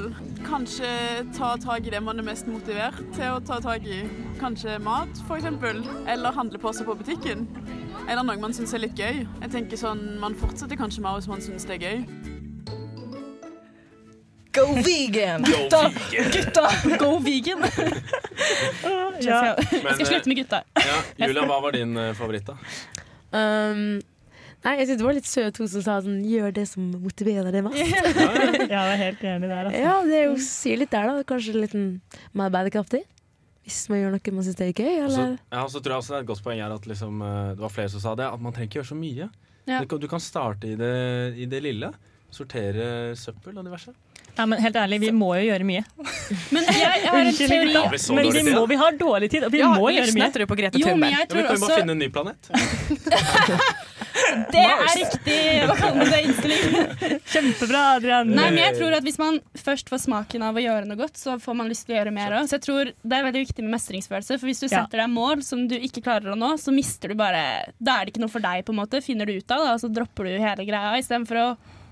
Speaker 8: Kanskje ta tak i det man er mest motivert til å ta tak i. Kanskje mat, f.eks. Eller handleposer på butikken. Eller noe man syns er litt gøy. Jeg tenker sånn, Man fortsetter kanskje mer hvis man syns det er gøy.
Speaker 14: Go vegan!
Speaker 8: Go
Speaker 14: Gutta,
Speaker 8: vegan!
Speaker 14: gutta, go vegan!
Speaker 13: Ja.
Speaker 3: Men, eh,
Speaker 4: Jeg skal slutte med gutta.
Speaker 3: Ja, Julia, hva var din eh, favoritt, da?
Speaker 13: Um, nei, jeg synes det var litt søt hun som sa sånn Gjør det som motiverer deg mest.
Speaker 1: Ja, jeg er helt enig der, altså.
Speaker 13: ja, det er jo sier litt der, da. Kanskje litt mm, mer bærekraftig. Hvis man gjør noe man syns er gøy,
Speaker 3: Og så
Speaker 13: eller
Speaker 3: Altså, ja, og så tror jeg også det er et godt poeng her at liksom, eh, det var flere som sa det, at man trenger ikke gjøre så mye.
Speaker 1: Ja.
Speaker 3: Du, kan, du kan starte i det, i det lille. Sortere søppel og diverse.
Speaker 1: Ja, men helt ærlig, vi må jo gjøre mye.
Speaker 4: Men jeg har en
Speaker 1: Unnskyld,
Speaker 4: teori.
Speaker 1: gutta,
Speaker 3: Har vi så
Speaker 1: men
Speaker 3: dårlig
Speaker 1: vi
Speaker 3: tid?
Speaker 1: må, vi har dårlig tid, og vi
Speaker 4: Ja,
Speaker 1: må gjøre
Speaker 4: lyssna
Speaker 1: mye.
Speaker 4: tror du på Grete Jo, men Thunberg?
Speaker 3: Ja,
Speaker 4: jeg
Speaker 3: men
Speaker 4: tror
Speaker 3: kan vi bare
Speaker 4: også-
Speaker 3: finne en ny planet?
Speaker 4: Det er riktig å kalle det innstilling.
Speaker 1: Kjempebra, Adrian.
Speaker 4: Nei, men jeg tror at Hvis man først får smaken av å gjøre noe godt, så får man lyst til å gjøre mer òg. Så jeg tror det er veldig viktig med mestringsfølelse. For hvis du
Speaker 1: Ja.
Speaker 4: setter deg mål som du ikke klarer å nå, så mister du bare Da er det ikke noe for deg, på en måte. Finner du ut av det, og så dropper du hele greia. Istedenfor å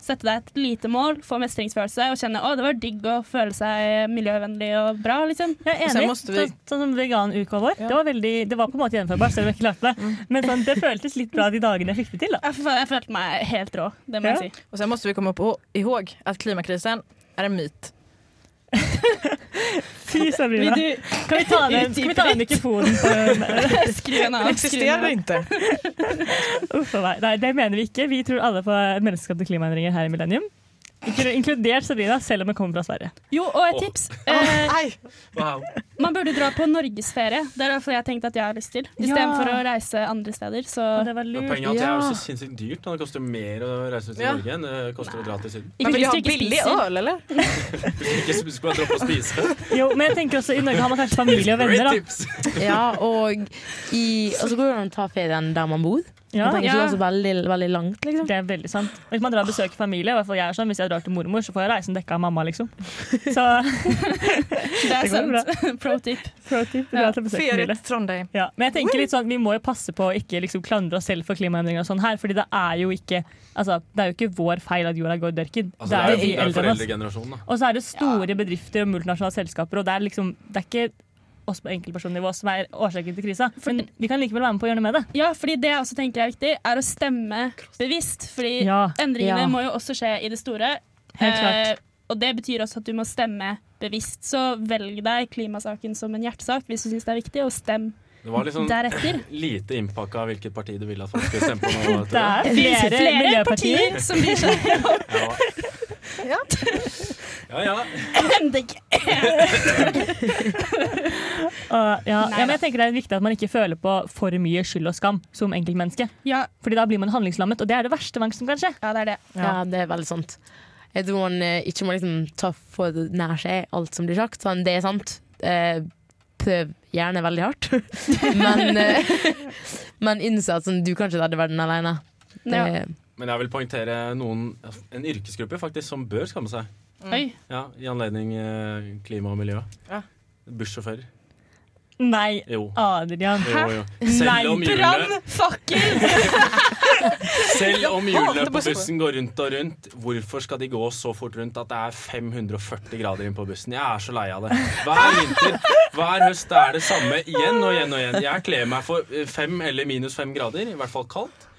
Speaker 4: sette deg et lite mål, få mestringsfølelse og kjenne å, det var digg å føle seg miljøvennlig og bra, liksom.
Speaker 1: Jeg er enig. Sånn, sånn som veganuka vår. Det, var veldig, det var på en måte gjennomførbart, selv om jeg ikke klarte det. Men sånn, det føltes litt bra de dagene jeg fikk det til. da.
Speaker 4: Jeg, jeg følte meg helt rå, det må jeg si.
Speaker 2: Och sen måste vi komma på, ihåg att klimakrisen är en myt.
Speaker 1: Fy Sabrina.
Speaker 2: Vil du-
Speaker 1: Kan vi ta den, kan vi ta den mikrofonen på
Speaker 4: Skru den av,
Speaker 2: Den existerar
Speaker 1: skru den av.
Speaker 2: inte.
Speaker 1: Uff a meg. Nei, det mener vi ikke. Vi tror alle på menneskeskapte klimaendringer her i Millennium. Inklu- Inkludert Sabrina, selv om hun kommer fra Sverige.
Speaker 4: Jo, og et tips. Eh,
Speaker 3: Wow.
Speaker 4: Man burde dra på norgesferie. Det er derfor jeg har tenkt at jeg har lyst til. Istedenfor for å reise andre steder. Så
Speaker 3: Men Poenget er at det er jo så sinnssykt dyrt. da. Det koster mer å reise ut til
Speaker 4: Ja.
Speaker 3: Norge enn det koster å dra til Syden.
Speaker 1: Men vil de ha billig øl,
Speaker 2: eller?
Speaker 3: Ikke så skulle jeg droppe å spise.
Speaker 1: Jo, men jeg tenker også I Norge har man kanskje familie og venner. da.
Speaker 13: Ja, og i Og så går det an å ta ferien der man bor.
Speaker 1: Ja.
Speaker 13: Man trenger ikke
Speaker 1: Ja.
Speaker 13: være så veldig, veldig langt, liksom.
Speaker 1: Det er veldig sant. Og hvis man drar og besøker familie, i hvert fall jeg er sånn, hvis jeg drar til mormor, så får jeg reisen dekka av mamma, liksom. Så
Speaker 4: det er
Speaker 1: går jo
Speaker 4: sant. Pro tip.
Speaker 1: Pro tip. Dra til besøk, familie. Ja, men jeg tenker litt sånn, Vi må jo passe på å ikke liksom klandre oss selv for klimaendringer, og sånn her, fordi det er jo ikke altså, det er jo ikke vår feil at jorda går i dørken.
Speaker 3: Altså, det er jo
Speaker 1: vi
Speaker 3: det er jo
Speaker 1: eldre enn oss.
Speaker 3: foreldregenerasjonen, da.
Speaker 1: Og så er det store bedrifter og multinasjonale selskaper, og det er, liksom, det er ikke oss på enkeltpersonnivå som er årsaken til krisa. Men vi kan likevel være med på å gjøre noe med det.
Speaker 4: Ja, fordi det jeg også tenker er viktig, er å stemme bevisst. Fordi
Speaker 1: Ja.
Speaker 4: endringene
Speaker 1: Ja.
Speaker 4: må jo også skje i det store. Eh,
Speaker 1: Helt klart.
Speaker 4: og det betyr også at du må stemme bevisst. Så velg deg klimasaken som en hjertesak hvis du syns det er viktig, og stem
Speaker 3: Det var liksom
Speaker 4: deretter.
Speaker 3: lite innpakka hvilket parti du ville at folk skulle stemme på. Nå,
Speaker 1: Det er flere, miljøpartier
Speaker 4: som bryr seg.
Speaker 2: Ja.
Speaker 3: Ja, ja.
Speaker 4: MDG.
Speaker 1: Og, ja, ja, men jeg tenker Det er viktig at man ikke føler på for mye skyld og skam som enkeltmenneske.
Speaker 4: Ja.
Speaker 1: Fordi da blir man handlingslammet, og det er det verste man som kan skje.
Speaker 4: Ja, det er det.
Speaker 13: Ja. det er veldig sant. Jeg tror man eh, ikke må liksom ta for nær seg alt som blir sagt. Sånn, det er sant. Eh, prøv gjerne veldig hardt. men, eh, men innse at sånn, du kan ikke redde verden alene. Det,
Speaker 3: Men jeg vil poengtere noen, en yrkesgruppe faktisk som bør skamme seg.
Speaker 4: Oi.
Speaker 3: Ja, I anledning eh, klima og miljø.
Speaker 2: Ja.
Speaker 3: Bussjåfører.
Speaker 1: Nei,
Speaker 3: Jo.
Speaker 1: Adrian.
Speaker 3: Jo, jo.
Speaker 1: Nei,
Speaker 3: Selv om hjulene, selv om hjulene
Speaker 1: Hater
Speaker 3: på
Speaker 1: bussjåfører.
Speaker 3: bussen går rundt og rundt, hvorfor skal de gå så fort rundt at det er 540 grader inn på bussen? Jeg er så lei av det. Hver vinter, hver høst er det samme igjen og igjen og igjen. Jeg kler meg for eh, fem eller minus fem grader, i hvert fall kaldt.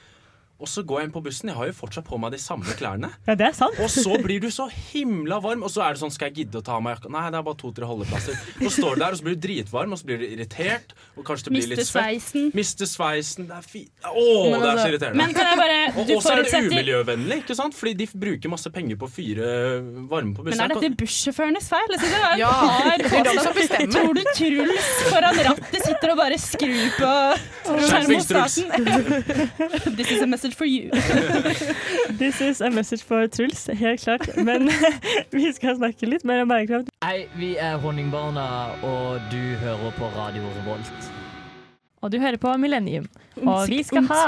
Speaker 3: Og så går jeg inn på bussen, jeg har jo fortsatt på meg de samme klærne.
Speaker 1: Ja, det er sant.
Speaker 3: Og så blir du så himla varm, og så er det sånn Skal jeg gidde å ta av meg jakka? Nei, det er bare to-tre holdeplasser. Og så står du der, og så blir du dritvarm, og så blir du irritert, og kanskje det blir
Speaker 4: Mister
Speaker 3: litt svett.
Speaker 4: sveisen.
Speaker 3: Mister sveisen. Det er fi... Åh, det
Speaker 4: Men
Speaker 3: er
Speaker 4: altså-
Speaker 3: så irriterende.
Speaker 4: Men kan jeg bare-
Speaker 3: Og
Speaker 4: du
Speaker 3: og så er det
Speaker 4: forutsetter-
Speaker 3: umiljøvennlig, ikke sant? Fordi de bruker masse penger på å fyre varme på
Speaker 4: Men
Speaker 3: bussen.
Speaker 4: er dette bussjåførenes feil? Jeg synes det var en
Speaker 2: Ja,
Speaker 4: rar
Speaker 2: det er de som
Speaker 4: påstand.
Speaker 2: bestemmer.
Speaker 4: Tror du Truls foran rattet sitter og bare skrur på
Speaker 1: Skjerpings, Truls.
Speaker 4: termostaten? This is a message for you.
Speaker 1: This is a message for Truls, helt klart. Men vi skal snakke litt mer om bærekraft.
Speaker 15: Hei, vi er Honningbarna, og du hører på Radio Revolt.
Speaker 1: Og du hører på Millennium. Og vi skal ha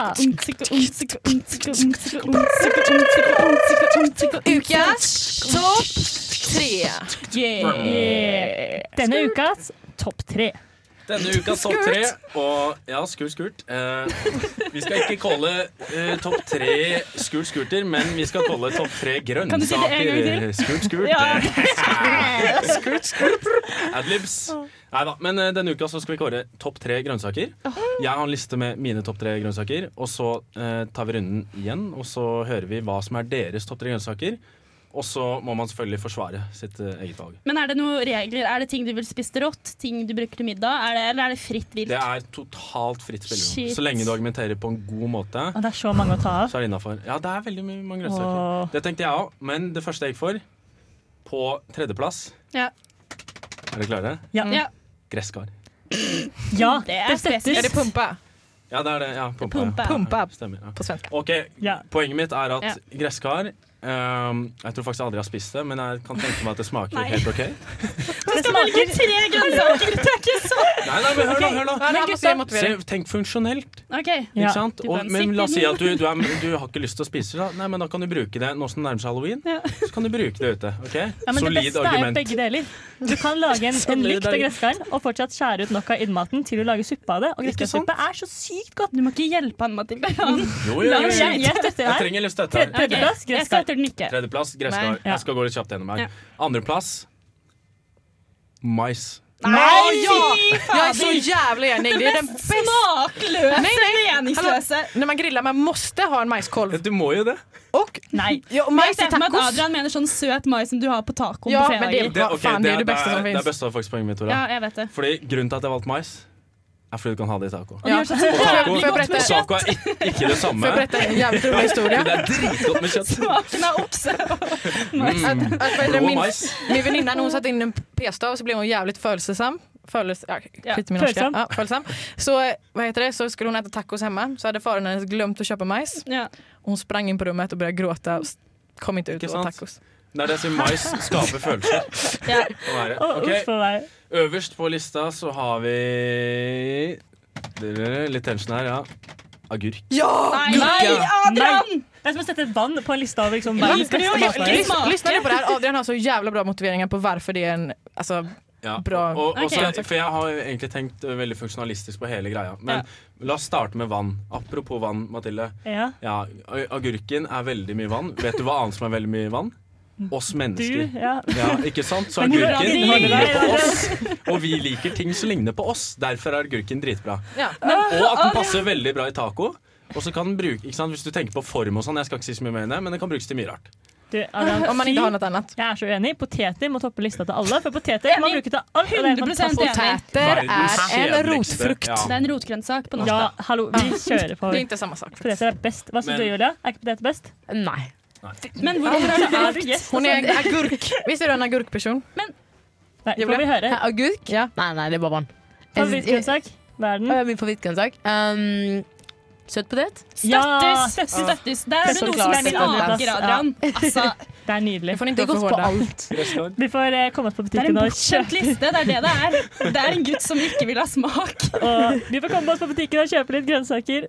Speaker 14: Ukas topp tre.
Speaker 1: Yeah. Denne ukas topp tre.
Speaker 3: Denne uka topp tre, og ja, skurt, skurt. Eh, vi skal ikke kalle eh, topp tre skurt, skurter, men vi skal kalle topp tre
Speaker 4: Kan du si det en
Speaker 3: grønnsaker
Speaker 4: gang til?
Speaker 3: eh, skurt, skurt.
Speaker 4: Ja.
Speaker 3: skurt, skurt. Adlibs. Nei da, men eh, denne uka så skal vi kåre topp tre grønnsaker. Jeg har en liste med mine topp tre grønnsaker, og så eh, tar vi runden igjen, og så hører vi hva som er deres topp tre grønnsaker. Og så må man selvfølgelig forsvare sitt eh, eget valg.
Speaker 4: Men er det noen regler? Er det ting du vil spise rått? Ting du bruker til middag? Er det, eller er det fritt vilt?
Speaker 3: Det er totalt fritt spillerom.
Speaker 4: Shit.
Speaker 3: Så lenge du argumenterer på en god måte.
Speaker 1: Og det er så mange å ta av.
Speaker 3: Så er det innafor. Ja, det er veldig mye- mange grønnsaker.
Speaker 1: Åh.
Speaker 3: Det tenkte jeg òg, men det første jeg gikk for, på tredjeplass
Speaker 4: Ja.
Speaker 3: Er dere klare?
Speaker 1: Ja.
Speaker 4: Ja.
Speaker 3: Gresskar.
Speaker 1: Ja,
Speaker 4: det
Speaker 1: det støttes.
Speaker 4: spesielt.
Speaker 1: Er det pumpa?
Speaker 3: Ja, det er det. Ja, pumpa.
Speaker 1: Pumpa.
Speaker 3: Ja.
Speaker 1: Pumpa.
Speaker 3: Ja, Stemmer. Ja. På svensk. Ok, Poenget mitt er at
Speaker 1: Ja.
Speaker 3: gresskar ehm, Jeg tror faktisk jeg aldri har spist det, men jeg kan tenke meg at det smaker
Speaker 4: Nei.
Speaker 3: helt OK.
Speaker 4: Du skal velge tre grønnsaker! Det er ikke så
Speaker 3: Nei, nei, men hør nå, hør nå.
Speaker 4: Men gutta-
Speaker 3: Se, tenk funksjonelt.
Speaker 4: Ok.
Speaker 3: Ikke sant? Og, men la oss si at du, du, er, du har ikke lyst til å spise det. da. Nei, men da kan du bruke det nå som det nærmer seg halloween. Så kan du bruke det ute. ok?
Speaker 1: Ja, men det
Speaker 3: Solid
Speaker 1: beste er jo
Speaker 3: argument.
Speaker 1: begge deler. Du kan lage en, en
Speaker 3: Solid
Speaker 1: lykt av
Speaker 3: argument.
Speaker 1: gresskaren og fortsatt skjære ut nok av innmaten til å lage suppe av det. Og gresskarsuppe er så sykt godt.
Speaker 4: Du må ikke hjelpe han, Mathilde.
Speaker 3: Jo, jo, jo, jo.
Speaker 1: Jeg, jeg støtter
Speaker 3: Jeg
Speaker 1: deg.
Speaker 3: trenger litt støtte her.
Speaker 1: Tredje- tredjeplass,
Speaker 4: Jeg
Speaker 1: gresskar.
Speaker 4: støtter den ikke.
Speaker 3: Tredjeplass, gresskar.
Speaker 4: Nei.
Speaker 3: Jeg skal gå litt kjapt gjennom
Speaker 4: Ja.
Speaker 3: her. Andreplass mais.
Speaker 2: Nei, ja!
Speaker 4: fy fader!
Speaker 2: Jag är så jävla enig. Det är den bästa.
Speaker 4: Smaklösa, meningslösa.
Speaker 2: När man grillar, man måste ha en majskolv.
Speaker 3: Du må ju det.
Speaker 4: Nei.
Speaker 2: Ja, og mais
Speaker 4: Men jeg ser
Speaker 2: i
Speaker 4: for meg at
Speaker 2: tacos.
Speaker 4: Adrian mener sånn søt mais som du har på tacoen
Speaker 2: Ja,
Speaker 4: på
Speaker 2: men
Speaker 4: fredager.
Speaker 2: det-
Speaker 3: ok,
Speaker 2: faen, det er det beste
Speaker 3: det
Speaker 2: som
Speaker 3: er,
Speaker 2: finnes.
Speaker 3: det er beste av faktisk poenget mitt, Tora.
Speaker 4: Ja, jeg vet det.
Speaker 3: Fordi grunnen til at jeg valgte mais, er fordi du kan ha det i taco.
Speaker 4: det gjør så
Speaker 3: Og taco,
Speaker 4: jævlig godt med
Speaker 3: og taco er ikke, ikke det samme.
Speaker 2: Får jeg berette en jævlig rolig historie?
Speaker 3: Det er dritgodt med kjøtt.
Speaker 4: Smaken av okse.
Speaker 3: Mm.
Speaker 2: Att, vad är det,
Speaker 3: Rå
Speaker 2: min,
Speaker 3: majs.
Speaker 2: min väninna när hon satte in en p-stav så blev hon jävligt födelsesam. Födels, ja,
Speaker 4: Ja,
Speaker 2: skit i min norska.
Speaker 4: födelseam.
Speaker 2: Ja, födelsesam. Så, eh, vad heter det? så skulle hon äta tacos hemma så hade föraren hennes glömt att köpa majs. Hon sprang in på rummet och började gråta och s- kom inte ut och åt
Speaker 3: sant?
Speaker 2: tacos.
Speaker 3: Det er det som mais skaper følelser.
Speaker 2: Ja.
Speaker 3: Å være.
Speaker 2: Å,
Speaker 3: Ok.
Speaker 2: uff, for
Speaker 3: Øverst på lista så har vi Dere, Litt tension her, ja. Agurk.
Speaker 1: Nei,
Speaker 2: Gurka!
Speaker 1: Nei. Det er som å sette vann på en liste over liksom, verdens beste matvarer.
Speaker 2: Lyssna, lyssna nu på det här. Adrian har så jävla bra motiveringar på varför det är en alltså,
Speaker 3: Ja.
Speaker 2: bra...
Speaker 3: Og, og så- for jeg har jo egentlig tenkt ø, veldig funksjonalistisk på hele greia. Men la oss starte med vann. Apropos vann, Mathilde.
Speaker 1: Ja.
Speaker 3: Ja, ø, agurken er veldig mye vann. Vet du hva annet som er veldig mye vann? Oss mennesker.
Speaker 1: Du, ja.
Speaker 3: ikke sant? Så
Speaker 1: Men hvor er
Speaker 3: agurken
Speaker 1: det
Speaker 3: ligner
Speaker 1: innholdet
Speaker 3: på
Speaker 1: der?
Speaker 3: oss. Og vi liker ting som ligner på oss. Derfor er agurken dritbra.
Speaker 2: Ja.
Speaker 3: Og at den passer veldig bra i taco. Og så kan den bruke, ikke sant, Hvis du tenker på form og sånn, jeg skal ikke si så mye mer enn det, men den kan brukes til mye rart.
Speaker 1: Du, Adrian,
Speaker 2: Om man ikke
Speaker 1: fy-
Speaker 2: har noe annet.
Speaker 1: Jeg er så uenig. Poteter må toppe lista til alle, for poteter kan man bruke til alt. og det er
Speaker 4: 100% enig.
Speaker 1: fantastisk.
Speaker 4: Poteter er
Speaker 3: Verdens en kjedeligste, rotfrukt. ja.
Speaker 4: Det er en rotgrønnsak på norsk.
Speaker 1: Ja,
Speaker 4: da.
Speaker 1: hallo, vi kjører på.
Speaker 4: Det er
Speaker 2: ikke samme sak.
Speaker 1: Poteter er best. Hva syns
Speaker 4: Men-
Speaker 1: du, Julia? Er ikke poteter best?
Speaker 13: Nei.
Speaker 4: Men hvorfor har du
Speaker 2: Ja,
Speaker 4: valgt
Speaker 2: Hon är en agurk. Visst är du en agurkperson?
Speaker 1: Nei,
Speaker 2: Julia?
Speaker 1: får vi høre?
Speaker 13: Hæ, Eh, Agurk? Nei, nei, det er bare vann.
Speaker 1: Favorittgrønnsak? Hva er den?
Speaker 4: Øh,
Speaker 13: Min favorittgrønnsak? Um, Søtpotet?
Speaker 1: Ja,
Speaker 4: Støttes! Støttes. Der er det
Speaker 13: Så
Speaker 4: noe som
Speaker 13: klart.
Speaker 4: smaker, Adrian.
Speaker 13: Ja.
Speaker 4: Altså,
Speaker 1: Det er nydelig.
Speaker 2: Det får
Speaker 13: Det går på alt.
Speaker 1: Vi får eh, komme oss på
Speaker 4: det er
Speaker 1: butikken
Speaker 4: en
Speaker 1: og
Speaker 4: bortskjemt
Speaker 1: kjøpe
Speaker 4: liste. Det er det det er. Det er en gutt som ikke vil ha smak.
Speaker 1: og Vi får komme oss på butikken og kjøpe litt grønnsaker.